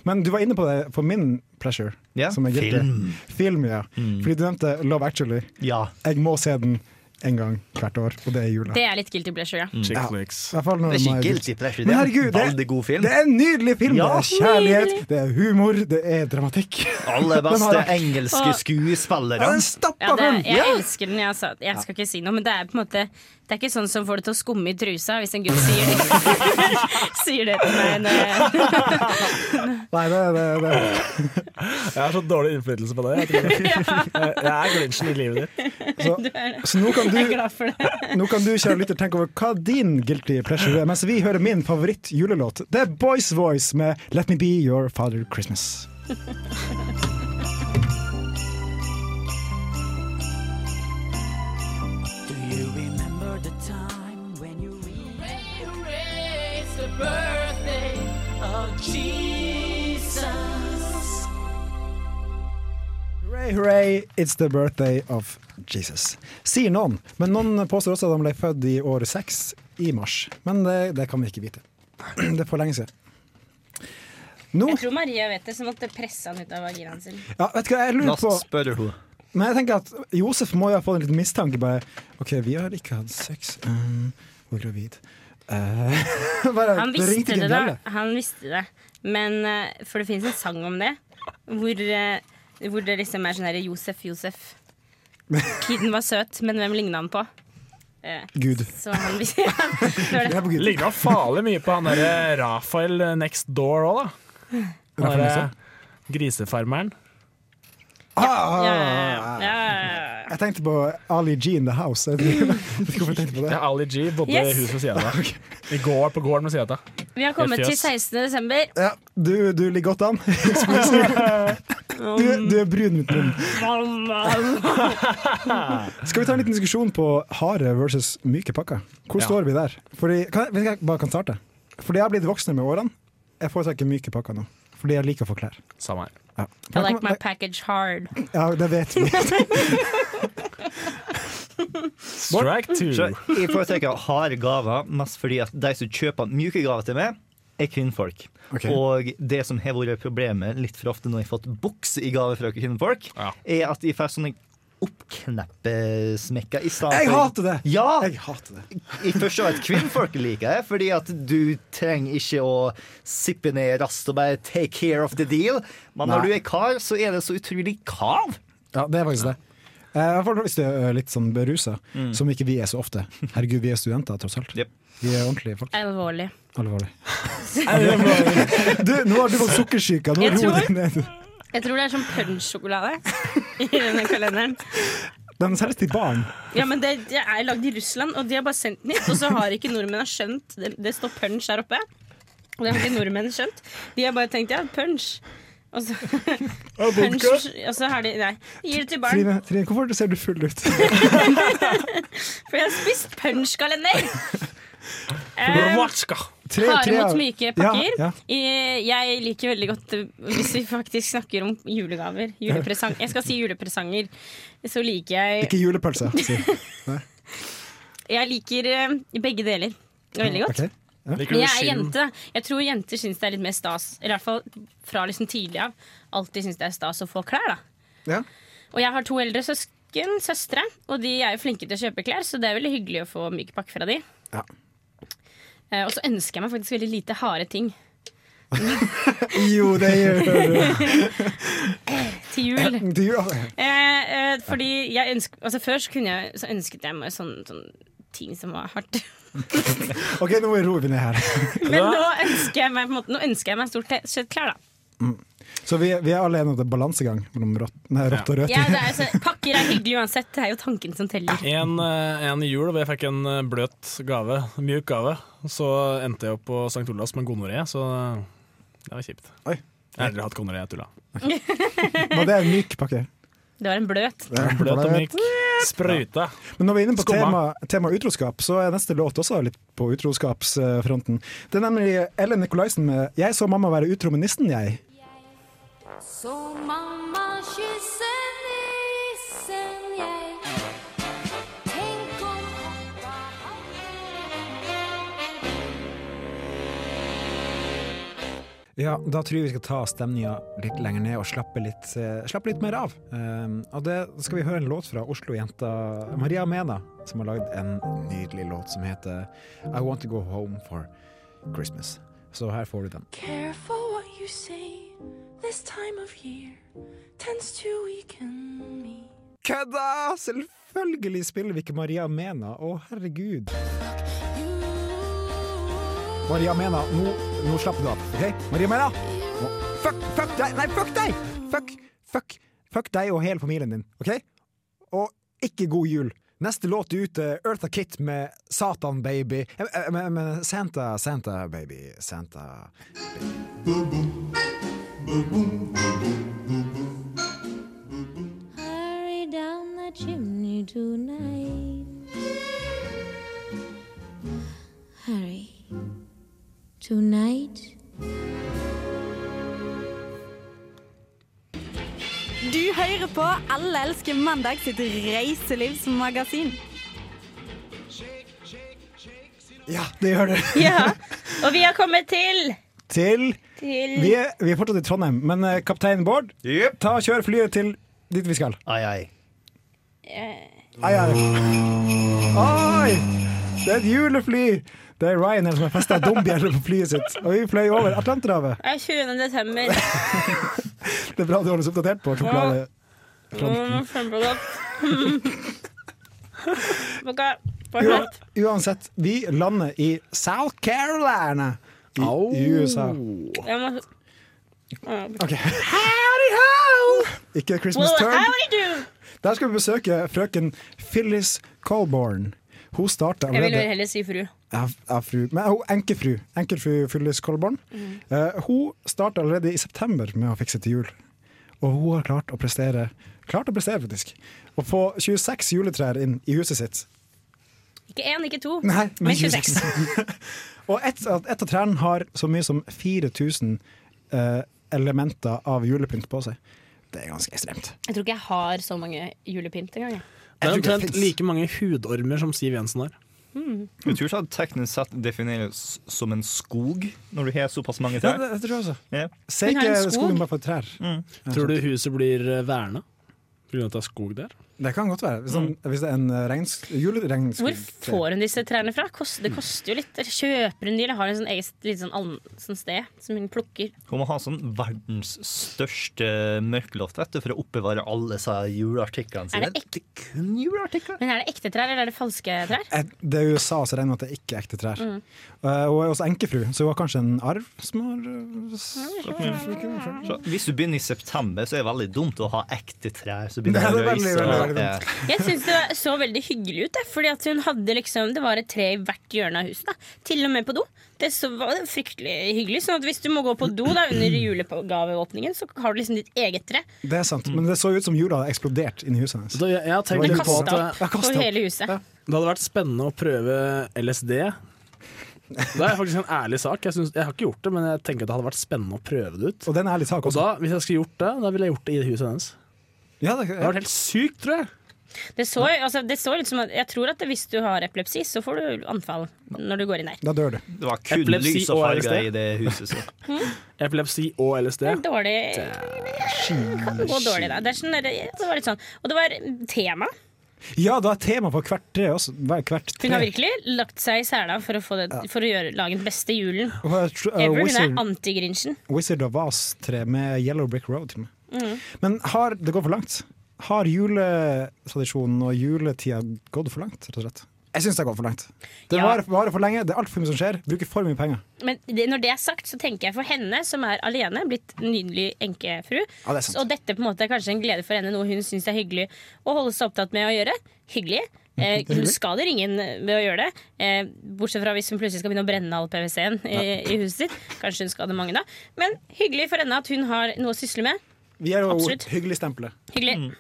Speaker 2: Men du var inne på det på min pleasure.
Speaker 1: Ja,
Speaker 2: som er guilty.
Speaker 1: film. Mm.
Speaker 2: Film, ja. Fordi du nevnte Love Actually.
Speaker 1: Ja.
Speaker 2: Jeg må se den en gang hvert år, og det er i jula.
Speaker 4: Det er litt guilty pleasure, ja.
Speaker 5: Chick
Speaker 2: Ja.
Speaker 5: flicks.
Speaker 2: I hvert fall når
Speaker 1: Det er
Speaker 2: man
Speaker 1: ikke guilty pleasure, det
Speaker 2: Men
Speaker 1: er
Speaker 2: herregud,
Speaker 1: en veldig god film.
Speaker 2: Det er en nydelig film!
Speaker 1: Ja.
Speaker 2: Det er kjærlighet, det er humor, det er dramatikk.
Speaker 1: Aller
Speaker 2: Den
Speaker 1: beste
Speaker 2: har- Ah.
Speaker 1: engelske
Speaker 4: Og-
Speaker 2: Ja,
Speaker 1: skuespillere.
Speaker 2: den stappa
Speaker 4: Ja,
Speaker 2: film!
Speaker 4: det, jeg elsker den. Jeg, altså. jeg skal ikke si noe, men det er på en måte Det er ikke sånn som får det til å skumme i trusa hvis en gutt sier det, sier det til meg. Når jeg,
Speaker 2: Nei, det, det, det.
Speaker 5: Jeg har så dårlig innflytelse på det. Jeg, tror. Jeg- jeg er grinchen i livet ditt.
Speaker 2: Så, så nå kan
Speaker 4: jeg er
Speaker 2: du
Speaker 4: glad for det.
Speaker 2: Nå kan du kjære lytter tenke over hva din guilty pleasure er, mens vi hører min favoritt julelåt. Det er Boys Voice med Let Me Be Your Father Christmas. Hooray, hooray, it's the birthday of Jesus. Sier noen, men noen påstår også at han ble født i år 6, i mars. Men det, det kan vi ikke vite. Det er for lenge siden. Nå,
Speaker 4: Jeg tror Maria vet det, som måtte presse han ut av vaginaen sin.
Speaker 2: ja, vet du hva, jeg
Speaker 1: Nå
Speaker 2: lurer på
Speaker 1: spør hun.
Speaker 2: Men jeg tenker at Josef må jo ha fått en liten mistanke. Bare, OK, vi har ikke hatt sex. Um, hun er gravid. Eh, bare,
Speaker 4: Han
Speaker 2: det ringte ikke
Speaker 4: visste
Speaker 2: en
Speaker 4: det, da.
Speaker 2: bjelle.
Speaker 4: Han visste det. Men eh, For det finnes en sang om det, hvor, eh, hvor det liksom er sånn her Josef, Josef. Kiden var søt, men hvem ligna han på? Eh,
Speaker 2: Gud.
Speaker 4: Så han visste det var
Speaker 2: Det
Speaker 4: det.
Speaker 2: er på Gud.
Speaker 5: Ligner han farlig mye på han derre Rafael eh, Next Door òg, da. Han derre grisefarmeren.
Speaker 2: Ah,
Speaker 4: Ja, ja, ja, ja.
Speaker 2: jeg tenkte på Ali G in the house. Jeg vet ikke hvorfor jeg tenkte på
Speaker 5: Ja,
Speaker 2: det.
Speaker 5: Ali G bodde
Speaker 4: Yes.
Speaker 5: i huset ved siden av deg. I går på gården ved siden av deg.
Speaker 4: Vi har kommet
Speaker 5: Helt
Speaker 4: til
Speaker 5: fjøs.
Speaker 4: 16. desember.
Speaker 2: Ja, du, du ligger godt an. du, du er brun mot munnen. Skal vi ta en liten diskusjon på harde versus myke pakker? Hvor
Speaker 5: Ja.
Speaker 2: står vi der? Fordi, kan, jeg- vet du hva jeg bare kan starte? Fordi jeg har blitt voksnere med årene. Jeg foretrekker myke pakker nå. Fordi jeg liker å få klær.
Speaker 5: Samme her.
Speaker 2: Ja.
Speaker 4: I like my package hard.
Speaker 2: Ja, det vet vi.
Speaker 5: Strike
Speaker 1: Så
Speaker 5: two.
Speaker 1: jeg foretrekker harde gaver mest fordi at de som kjøper mjuke gaver til meg, er kvinnfolk.
Speaker 2: Ok.
Speaker 1: Og det som har vært problemet litt for ofte når jeg har fått bukse i gave fra kvinnfolk,
Speaker 5: Ja.
Speaker 1: er at jeg får sånne oppkneppesmekker i stedet
Speaker 2: Jeg
Speaker 1: for-
Speaker 2: hater det!
Speaker 1: Ja!
Speaker 2: Jeg hater det.
Speaker 1: Jeg forstår at kvinnfolk liker det, fordi at du trenger ikke å sippe ned raskt og bare take care of the deal. Men når
Speaker 2: Nei.
Speaker 1: du er kar, så er det så utrolig kav.
Speaker 2: Ja, det er faktisk det. Eh, I hvert fall hvis du er litt sånn berusa, som ikke vi er så ofte. Herregud, vi er studenter, tross alt.
Speaker 1: Jep.
Speaker 2: Vi er ordentlige folk.
Speaker 4: Alvorlig.
Speaker 2: Alvorlig. Du, nå har du fått sukkersyke. Nå
Speaker 4: Jeg
Speaker 2: roer
Speaker 4: tror-
Speaker 2: du deg ned.
Speaker 4: Jeg tror det er sånn punch-sjokolade i denne kalenderen.
Speaker 2: Den selges til barn.
Speaker 4: Ja, men det, det er lagd i Russland, og de har bare sendt den hit. Og så har ikke nordmenn skjønt Det, det står punch der oppe. Og det har ikke nordmenn skjønt. De har bare tenkt ja, punch. Og så, punch, og så har de Nei, gir det til barn.
Speaker 2: Trine, Trine, hvorfor ser du full ut?
Speaker 4: For jeg har spist punch-kalender! Eh,
Speaker 5: Rwatska.
Speaker 2: Tre-
Speaker 4: Harde
Speaker 2: tre av-
Speaker 4: mot myke pakker.
Speaker 2: Ja, ja.
Speaker 4: Eh, Jeg liker veldig godt eh, Hvis vi faktisk snakker om julegaver. Julepresang. Jeg skal si julepresanger. Så liker jeg
Speaker 2: Ikke julepølse. Si.
Speaker 4: Jeg liker eh, begge deler veldig godt.
Speaker 2: Ok.
Speaker 4: Men
Speaker 5: Liker du
Speaker 4: jeg er
Speaker 5: skinn?
Speaker 4: jente. da. Jeg tror jenter syns det er litt mer stas. Eller i hvert fall fra liksom tidlig av. Alltid syns det er stas å få klær, da.
Speaker 2: Ja.
Speaker 4: Og jeg har to eldre søs- pakken, søstre, og de er jo flinke til å kjøpe klær, så det er veldig hyggelig å få myk pakke fra de.
Speaker 2: Ja.
Speaker 4: Eh, Og så ønsker jeg meg faktisk veldig lite harde ting.
Speaker 2: Jo, det gjør du.
Speaker 4: Til jul.
Speaker 2: Du gjør det.
Speaker 4: Eh, eh, fordi jeg ønsk, altså før så, kunne jeg, så ønsket jeg meg sånn, sånn ting som var hardt.
Speaker 2: OK, nå roer vi ned her.
Speaker 4: Men nå ønsker jeg meg, på en måte, nå ønsker jeg meg stort sett klær, da.
Speaker 2: Så vi, vi er alle enige om det er balansegang mellom rått, nei, rått og rødt.
Speaker 4: Ja, det er, jo så, pakker er hyggelig uansett, det er jo tanken som teller.
Speaker 5: En, eh, en i jul hvor jeg fikk en eh, bløt gave, mjuk gave, så endte jeg opp på St. Olavs med gonoré, så eh, det var kjipt.
Speaker 2: Oi.
Speaker 5: Jeg har aldri hatt gonoré, jeg tulla.
Speaker 2: Men det er en myk pakke.
Speaker 4: Det var en bløt.
Speaker 2: Det er
Speaker 5: Bløt og
Speaker 2: balanse.
Speaker 5: myk. Sprøyte.
Speaker 2: Men når vi er inne på tema,
Speaker 5: Skumma.
Speaker 2: tema utroskap, så er neste låt også litt på utroskapsfronten. Det er nemlig Ellen Nikolaisen med 'Jeg så mamma være utro med nissen', jeg.
Speaker 3: Så mamma kysser nissen jeg. Tenk om pappa
Speaker 2: Ja, da tror jeg vi skal ta stemninga litt lenger ned og slappe litt, eh, slappe litt mer av. Um, og det skal vi høre en låt fra Oslo-jenta Maria Mena, som har lagd en nydelig låt som heter 'I Want To Go Home For Christmas'. Så her får du den.
Speaker 10: Careful what you say. This time of year tends to weaken me.
Speaker 2: Kødda! Selvfølgelig spiller vi ikke Maria Mena. Å, herregud. Maria Mena, nå, nå slapper du av. ok? Maria Mena! Nå. Fuck, fuck deg! Nei, fuck deg! Fuck, fuck, fuck deg og hele familien din. OK? Og ikke god jul. Neste låt er ute, Eartha Kitt med Satan Baby. Eh, eh, Men men Santa, Santa Baby, Santa
Speaker 3: Hurry down the chimney tonight. Hurry. Tonight.
Speaker 11: Du hører på Alle elsker mandag sitt reiselivsmagasin.
Speaker 2: Ja, det gjør det.
Speaker 4: Ja. Og vi har kommet til
Speaker 2: Til
Speaker 4: Til
Speaker 2: Vi er, vi er fortsatt i Trondheim, men eh, kaptein Bård,
Speaker 1: Jep.
Speaker 2: ta og kjør flyet til dit vi skal.
Speaker 1: Ai, ai.
Speaker 2: Ai, ai. Oi! Det er et julefly! Det er Ryanair som har festa dombjeller på flyet sitt. Og vi fløy over Atlanterhavet.
Speaker 4: er 20. desember.
Speaker 2: Det er bra du holder oss oppdatert på sjokolade.
Speaker 4: Mm, kjempegodt. Boka,
Speaker 2: Ua-
Speaker 4: fortsatt.
Speaker 2: Uansett, vi lander i South Carolina i USA.
Speaker 4: Jeg må... Ah,
Speaker 2: Ok. Howdy ho! Ikke Christmas
Speaker 4: Well,
Speaker 2: turn.
Speaker 4: howdy do!
Speaker 2: Der skal vi besøke frøken Phyllis Colborn. Hun starta
Speaker 4: Jeg vil
Speaker 2: allerede
Speaker 4: vel heller si fru.
Speaker 2: Ja, ja, fru. Men hun enkefru. Enkefru Fyllis Kolborn. Eh, hun starta allerede i september med å fikse til jul. Og hun har klart å prestere Klart å prestere, faktisk. Å få 26 juletrær inn i huset sitt.
Speaker 4: Ikke én, ikke to,
Speaker 2: Nei, men
Speaker 4: men 26.
Speaker 2: Og ett av et av trærne har så mye som 4000 eh, elementer av julepynt på seg. Det er ganske ekstremt.
Speaker 4: Jeg tror ikke jeg har så mange julepynt engang. jeg.
Speaker 5: Det er
Speaker 2: tror ikke det
Speaker 5: omtrent
Speaker 2: finnes.
Speaker 5: like mange hudormer som Siv Jensen har.
Speaker 1: Jeg tror ikke at teknisk sett defineres som en skog, når du har såpass mange
Speaker 2: Ja,
Speaker 1: trær.
Speaker 2: det, det tror jeg også.
Speaker 1: Ja.
Speaker 2: Se
Speaker 4: Hun har en
Speaker 2: ikke
Speaker 4: skog.
Speaker 2: skogen bare for trær.
Speaker 5: Tror du huset blir eh, verna pga. at det er skog der?
Speaker 2: Det kan godt være. Hvis, han, hvis det er en regnsk, juleregnskog
Speaker 4: Hvor får hun disse trærne fra? Kost, det koster jo litt. Eller Kjøper hun de, eller har hun sånn eget lite sånn, ann- sånn sted som hun plukker?
Speaker 1: Hun må ha sånn verdens største mørkelott vet du, for å oppbevare alle disse juleartiklene
Speaker 4: Er
Speaker 1: sine.
Speaker 4: det
Speaker 1: det er kun juleartikler?
Speaker 4: Men er det ekte trær, eller er det falske trær?
Speaker 2: Et- Det er USA, så jeg regner med at det er ikke ekte trær.
Speaker 4: Mm.
Speaker 2: Eh, hun er også enkefru, så hun har kanskje en arv som har eh, s-
Speaker 1: Så hvis du begynner i september, så er det veldig dumt å ha ekte trær. Så begynner
Speaker 2: Nei,
Speaker 1: å
Speaker 2: det er
Speaker 1: røyse,
Speaker 2: veldig, veldig,
Speaker 1: og-
Speaker 2: veldig dumt.
Speaker 1: Ja.
Speaker 4: Jeg syns det så veldig hyggelig ut. jeg, Fordi at hun hadde liksom, Det var et tre i hvert hjørne av huset. Da. Til og med på do. Det så, var fryktelig hyggelig. Sånn at hvis du må gå på do da, under julegaveåpningen, så har du liksom ditt eget tre.
Speaker 2: Det er sant, men det så ut som jula hadde eksplodert inni huset hennes.
Speaker 5: Så jeg, jeg har tenkt
Speaker 2: Det
Speaker 5: litt på
Speaker 4: kastet
Speaker 5: at eh,
Speaker 4: opp på
Speaker 2: kastet opp.
Speaker 4: hele huset.
Speaker 5: det hadde vært spennende å prøve LSD. Det er faktisk en ærlig sak. Jeg, synes, jeg har ikke gjort det, men jeg tenker at det hadde vært spennende å prøve det
Speaker 2: Og
Speaker 5: ut.
Speaker 2: det er en ærlig sak
Speaker 5: Og
Speaker 2: også.
Speaker 5: da, hvis jeg skulle gjort det, da ville jeg gjort det i huset hennes.
Speaker 2: Ja, det,
Speaker 5: Det hadde vært helt sykt, tror jeg.
Speaker 4: Det så, altså, det så ut som at Jeg tror at hvis du har epilepsi, så får du anfall når du går inn der.
Speaker 2: Da dør du.
Speaker 1: Det var kun
Speaker 5: Epilepsi
Speaker 1: lys og
Speaker 5: og
Speaker 1: farger
Speaker 5: LSD.
Speaker 1: i det huset. Så.
Speaker 5: Epilepsi og LSD.
Speaker 4: Det er dårlig Det kan gå dårlig, da. Det, er sånn, der- det var litt sånn. Og det var tema.
Speaker 2: Ja, da er tema på hvert tre også. Hver, hvert tre.
Speaker 4: Hun har virkelig lagt seg i sela for å, få det, for å gjøre, lage den beste julen
Speaker 2: Og, uh, tr- uh,
Speaker 4: ever. Hun er
Speaker 2: Wizard,
Speaker 4: anti-Grinchen.
Speaker 2: Wizard of Oz-tre med Yellow Brick Road. til og med.
Speaker 4: Mm.
Speaker 2: Men har, det går for langt. Har juletradisjonen og juletida gått for langt, rett og slett? Jeg syns det har gått for langt. Det
Speaker 4: Ja.
Speaker 2: varer, varer for lenge, det er altfor mye som skjer. Bruker for mye penger.
Speaker 4: Men det, når det er sagt, så tenker jeg for henne som er alene, blitt nydelig enkefru.
Speaker 2: Ja, det er sant.
Speaker 4: og dette på en måte er kanskje en glede for henne, noe hun syns er hyggelig å holde seg opptatt med å gjøre. Hyggelig. Eh, hun skader ingen ved å gjøre det, eh, bortsett fra hvis hun plutselig skal begynne å brenne all PwC-en i, i huset sitt. Kanskje hun skader mange da. Men hyggelig for henne at hun har noe å sysle med.
Speaker 2: Vi er jo
Speaker 4: Absolutt.
Speaker 2: hyggeligstempelet.
Speaker 4: Hyggelig.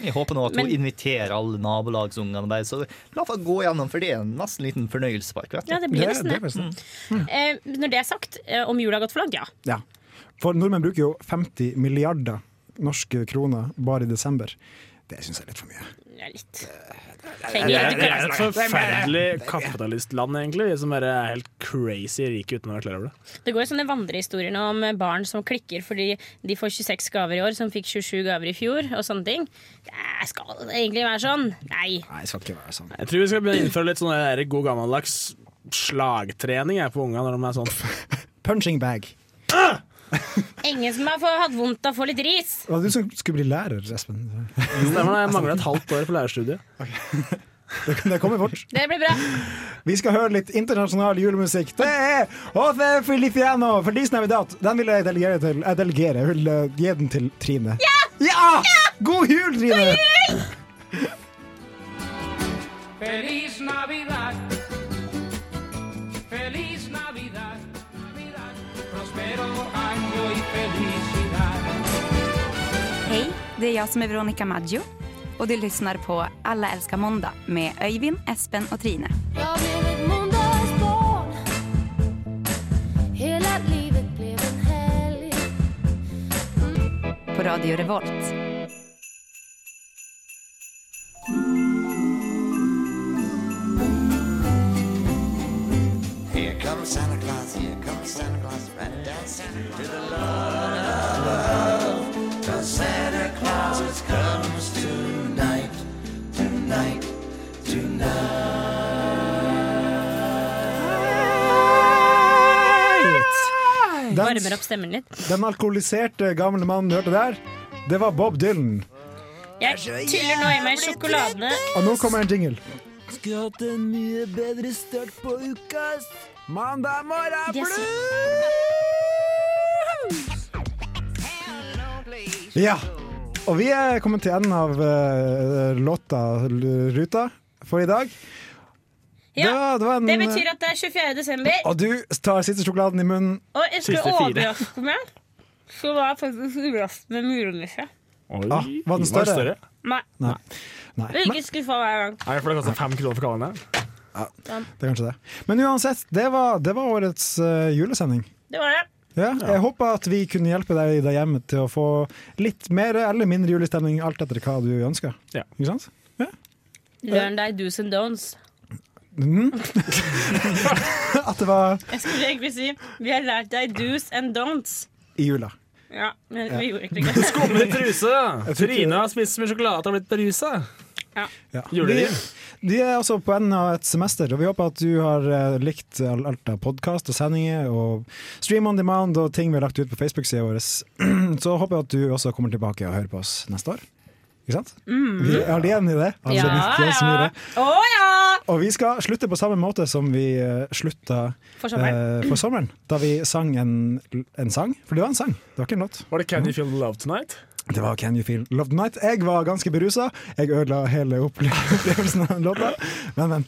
Speaker 1: Jeg håper nå at
Speaker 4: Men-
Speaker 1: hun inviterer alle nabolagssungene der. Så la oss gå gjennom, for det er en nesten liten fornøyelsespark. Vet du.
Speaker 4: Ja, det blir nesten det.
Speaker 2: nesten det.
Speaker 4: Eh, når det er sagt, eh, om jula har gått for langt, ja.
Speaker 2: Mm. Ja. For nordmenn bruker jo 50 milliarder norske kroner bare i desember. Det syns jeg er litt for mye.
Speaker 4: Det er litt
Speaker 5: Det
Speaker 4: Trenger
Speaker 5: er,
Speaker 4: litt
Speaker 5: det er
Speaker 4: glede.
Speaker 5: et forferdelig kapitalistland, egentlig, som bare er helt crazy rike uten å være klar over det.
Speaker 4: Det går jo sånne vandrehistorier nå om barn som klikker fordi de får 26 gaver i år, som fikk 27 gaver i fjor, og sånne ting. Det skal det egentlig være sånn? Nei.
Speaker 2: Nei, det skal ikke være sånn.
Speaker 5: Jeg tror vi skal begynne å innføre litt sånn der god gammeldags slagtrening jeg, på unga når de er sånn
Speaker 2: Punching bag.
Speaker 4: Ingen som har fått- hatt vondt av å få litt ris.
Speaker 2: Det var du som skulle bli lærer, Espen.
Speaker 5: Stemmer det, jeg mangler et halvt år på lærerstudiet.
Speaker 2: Det, det kommer fort.
Speaker 4: Det blir bra.
Speaker 2: Vi skal høre litt internasjonal julemusikk. Det er Ove Filipiano for Disney Without. Den vil jeg delegere til Jeg delegerer. Jeg vil eh, gi den til Trine. Ja! God jul, Trine!
Speaker 12: Feliz Navidad. Feliz Navidad. Navidad. Prospero año y felicidad.
Speaker 11: Hej, det är jag som är Veronica Maggio och du lyssnar på Alla älskar måndag med Öyvind, Espen och Trine.
Speaker 3: Jag blev ett måndagsbarn Hela livet blev en helg
Speaker 11: På Radio Revolt.
Speaker 13: Here comes Santa Claus, here comes Santa Claus, right down Santa Claus. To the love, of Santa Claus it comes tonight, tonight,
Speaker 2: Right.
Speaker 4: Varmer opp stemmen litt.
Speaker 2: Den alkoholiserte gamle mannen du hørte der, det var Bob Dylan.
Speaker 4: Jeg tyller nå i meg sjokoladene.
Speaker 2: Og nå kommer en jingle.
Speaker 7: Skulle hatt en mye bedre start på uka.
Speaker 2: Mandag morgen
Speaker 7: blues!
Speaker 2: Ja. Og vi er kommet til enden av eh, låta l- Ruta for i dag.
Speaker 4: Ja,
Speaker 2: det var en-
Speaker 4: det betyr at det er 24. desember.
Speaker 2: Og du tar siste sjokoladen i munnen.
Speaker 4: Og jeg skal
Speaker 2: Siste fire.
Speaker 4: overraske meg. Så var jeg faktisk overrasket med murenisse.
Speaker 2: Ah, var den større?
Speaker 4: Nei.
Speaker 2: Nei. Nei.
Speaker 4: Blir ikke skuffa hver gang.
Speaker 5: Nei, for det koster fem kroner for kalenderen.
Speaker 2: Det er kanskje det. Men uansett, det var, det var årets eh, julesending.
Speaker 4: Det var det.
Speaker 2: Ja, jeg håper at vi kunne hjelpe deg der hjemme til å få litt mer eller mindre julestemning, alt etter hva du ønsker. Ikke sant?
Speaker 4: Learn deg do's and don'ts.
Speaker 2: Mm. at det var
Speaker 4: Jeg skulle egentlig si vi har lært deg do's and don'ts.
Speaker 2: i jula.
Speaker 4: Ja, men vi
Speaker 2: Ja.
Speaker 4: gjorde ikke det.
Speaker 5: Skumle truse!
Speaker 2: Jeg tror ikke-
Speaker 5: Trine har spist så mye sjokolade at hun har blitt berusa.
Speaker 2: Ja.
Speaker 5: Julerim.
Speaker 2: Vi, vi er også på enden av et semester, og vi håper at du har eh, likt all- alt av podkast og sendinger og Stream on demand og ting vi har lagt ut på Facebook-sida vår. Så håper jeg at du også kommer tilbake og hører på oss neste år. Ikke sant?
Speaker 4: Mm.
Speaker 2: Vi er alene i det. Altså,
Speaker 4: Ja,
Speaker 2: vi er som i
Speaker 4: ja.
Speaker 2: det.
Speaker 4: Å ja!
Speaker 2: Og vi skal slutte på samme måte som vi eh, slutta
Speaker 4: For sommeren.
Speaker 2: eh, for sommeren, Da vi sang en, en sang. For det var en sang, det var ikke en låt.
Speaker 5: Var det Can You Feel the Love Tonight?
Speaker 2: Det var Can You Feel Love Tonight. Jeg var ganske berusa. Jeg ødela hele opple- opplevelsen av den låta. Men, men.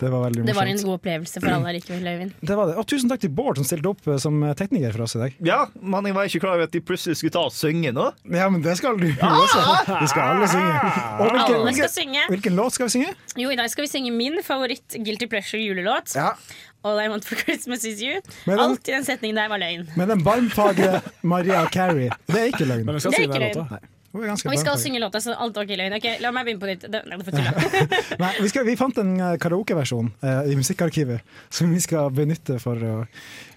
Speaker 2: Det var veldig
Speaker 4: Det var en
Speaker 2: morsomt.
Speaker 4: god opplevelse for alle likevel, Øyvind.
Speaker 2: Det var det. Og tusen takk til Bård som stilte opp eh, som tekniker for oss i dag.
Speaker 1: Ja, men jeg var ikke klar over at de plutselig skulle ta og synge nå.
Speaker 2: Ja, men det skal du også. Vi skal alle synge. Og hvilken,
Speaker 4: Ah! Alle skal
Speaker 2: hvilken,
Speaker 4: synge.
Speaker 2: hvilken låt skal vi synge?
Speaker 4: Jo, i dag skal vi synge min favoritt Guilty Pleasure julelåt. All I Want for Christmas Is You.
Speaker 2: Men den-
Speaker 4: Alt i den setningen der var løgn.
Speaker 2: Med den barmfagre Maria Carrie. Det er ikke løgn.
Speaker 4: Men vi skal Det er synge den ikke løgn. låta.
Speaker 2: Nei. Hun er ganske
Speaker 4: Og vi
Speaker 2: bra,
Speaker 4: skal
Speaker 2: faktisk.
Speaker 4: synge låta, så alt var ikke løgn. Ok, La meg begynne på nytt. Det- Nei, det får tulla.
Speaker 2: Nei, vi, skal, vi fant en eh, karaokeversjon eh, i Musikkarkivet som vi skal benytte for å,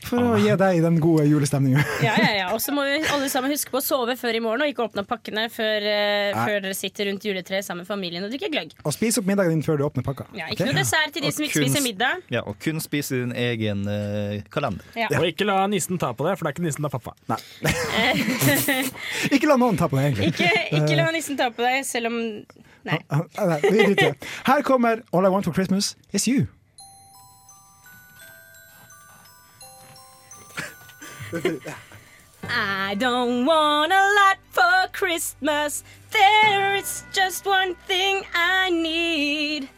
Speaker 2: for
Speaker 13: Ah.
Speaker 2: å gi deg den gode julestemninga.
Speaker 4: Ja, ja, ja. Og så må vi alle sammen huske på å sove før i morgen, og ikke åpne opp pakkene før, eh,
Speaker 2: Nei.
Speaker 4: før dere sitter rundt juletreet sammen med familien og drikker gløgg.
Speaker 2: Og spis opp middagen din før du åpner pakka.
Speaker 4: Ja,
Speaker 2: ok?
Speaker 4: ikke noe dessert til de
Speaker 1: Og
Speaker 4: som ikke
Speaker 1: kun-
Speaker 4: spiser middag.
Speaker 1: Ja, og kun spise din egen eh, kalender.
Speaker 4: Ja.
Speaker 5: Og ikke la nissen ta på det, for det er ikke nissen, det er pappa.
Speaker 2: Ikke la noen ta på deg, egentlig.
Speaker 4: ikke, ikke la nissen ta på deg, selv om Nei.
Speaker 2: Eh, nei, vi driter i det. Her kommer All I Want for Christmas Is You.
Speaker 4: I don't want a lot for Christmas. There is just one thing I need.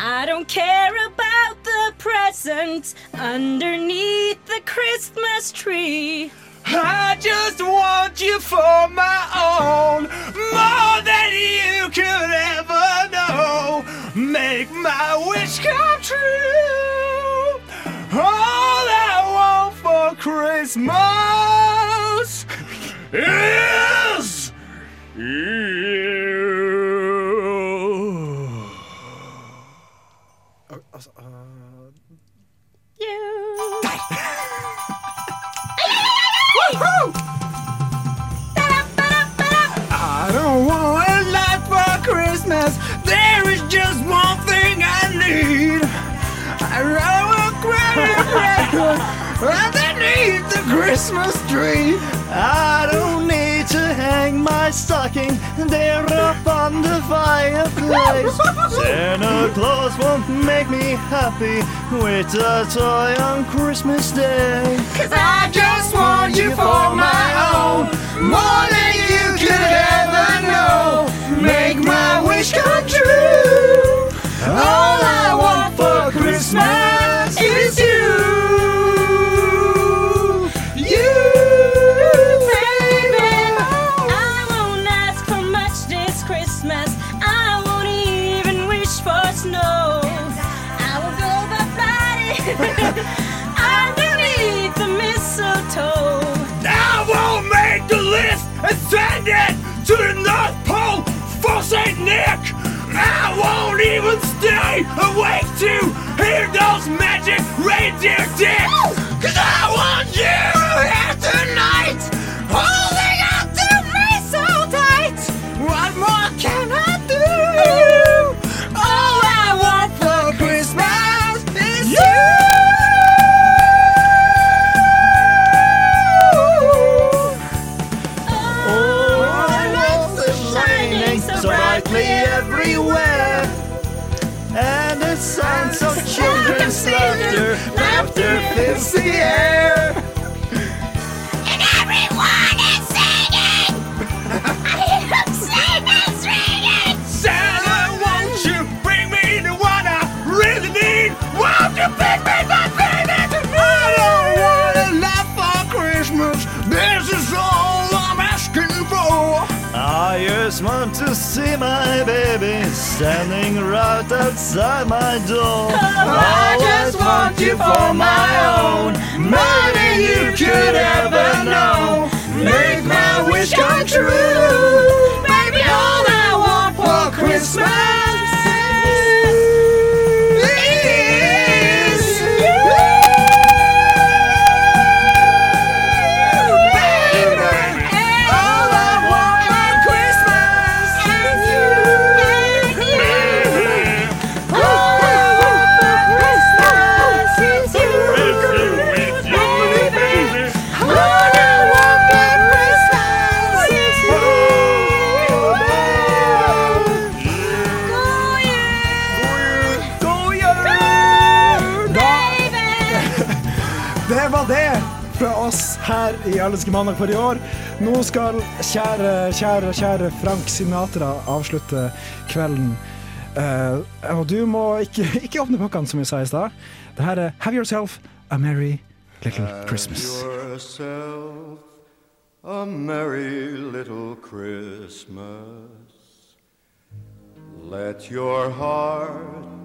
Speaker 4: I don't care about the presents underneath the Christmas tree.
Speaker 13: I just want you for my own, more than you could ever know. Make my wish come true. All I want for Christmas is you. Woohoo! I don't want a lot for Christmas. There is just one thing I need. I love a credit record underneath the Christmas tree.
Speaker 1: I don't need to hang my stocking there up on the fireplace. Santa Claus won't make me happy with a toy on Christmas Day.
Speaker 13: Cause I just want you for my own, more than you could ever know. Make my wish come true. All I want for Christmas is you. You, baby.
Speaker 4: I won't ask for much this Christmas. I won't even wish for snow. I will go by body underneath the mistletoe.
Speaker 13: I will make the list and send it to the North Pole for St. Nick. I won't even stay awake to hear those magic reindeer dicks. Cause I want you here tonight, holding up to me so tight. What more can I do? All I want for Christmas is you. Oh, the lights are shining so brightly everywhere.
Speaker 1: And the sounds of children's laughter, laughter fills the air.
Speaker 13: And everyone is singing. I singing, singing. Santa, won't you bring me the one I really need? Won't you pick me my favorite? I don't want a lot for Christmas. This is all I'm asking for.
Speaker 1: I just want to see my baby standing right outside my door.
Speaker 13: I just want you for my own, more than you could ever know. Make my wish come true, baby. All I want for Christmas is you, baby. All I want for Christmas is you, baby.
Speaker 2: Det var det fra oss her i Allelske mandag for i år. Nå skal kjære, kjære, kjære Frank Sinatra avslutte kvelden. Eh, og du må ikke, ikke åpne pakkene, som vi sa i stad. Det her er Have Yourself a Merry Little
Speaker 13: Eh,
Speaker 2: Christmas.
Speaker 14: yourself a merry little Christmas. Let your heart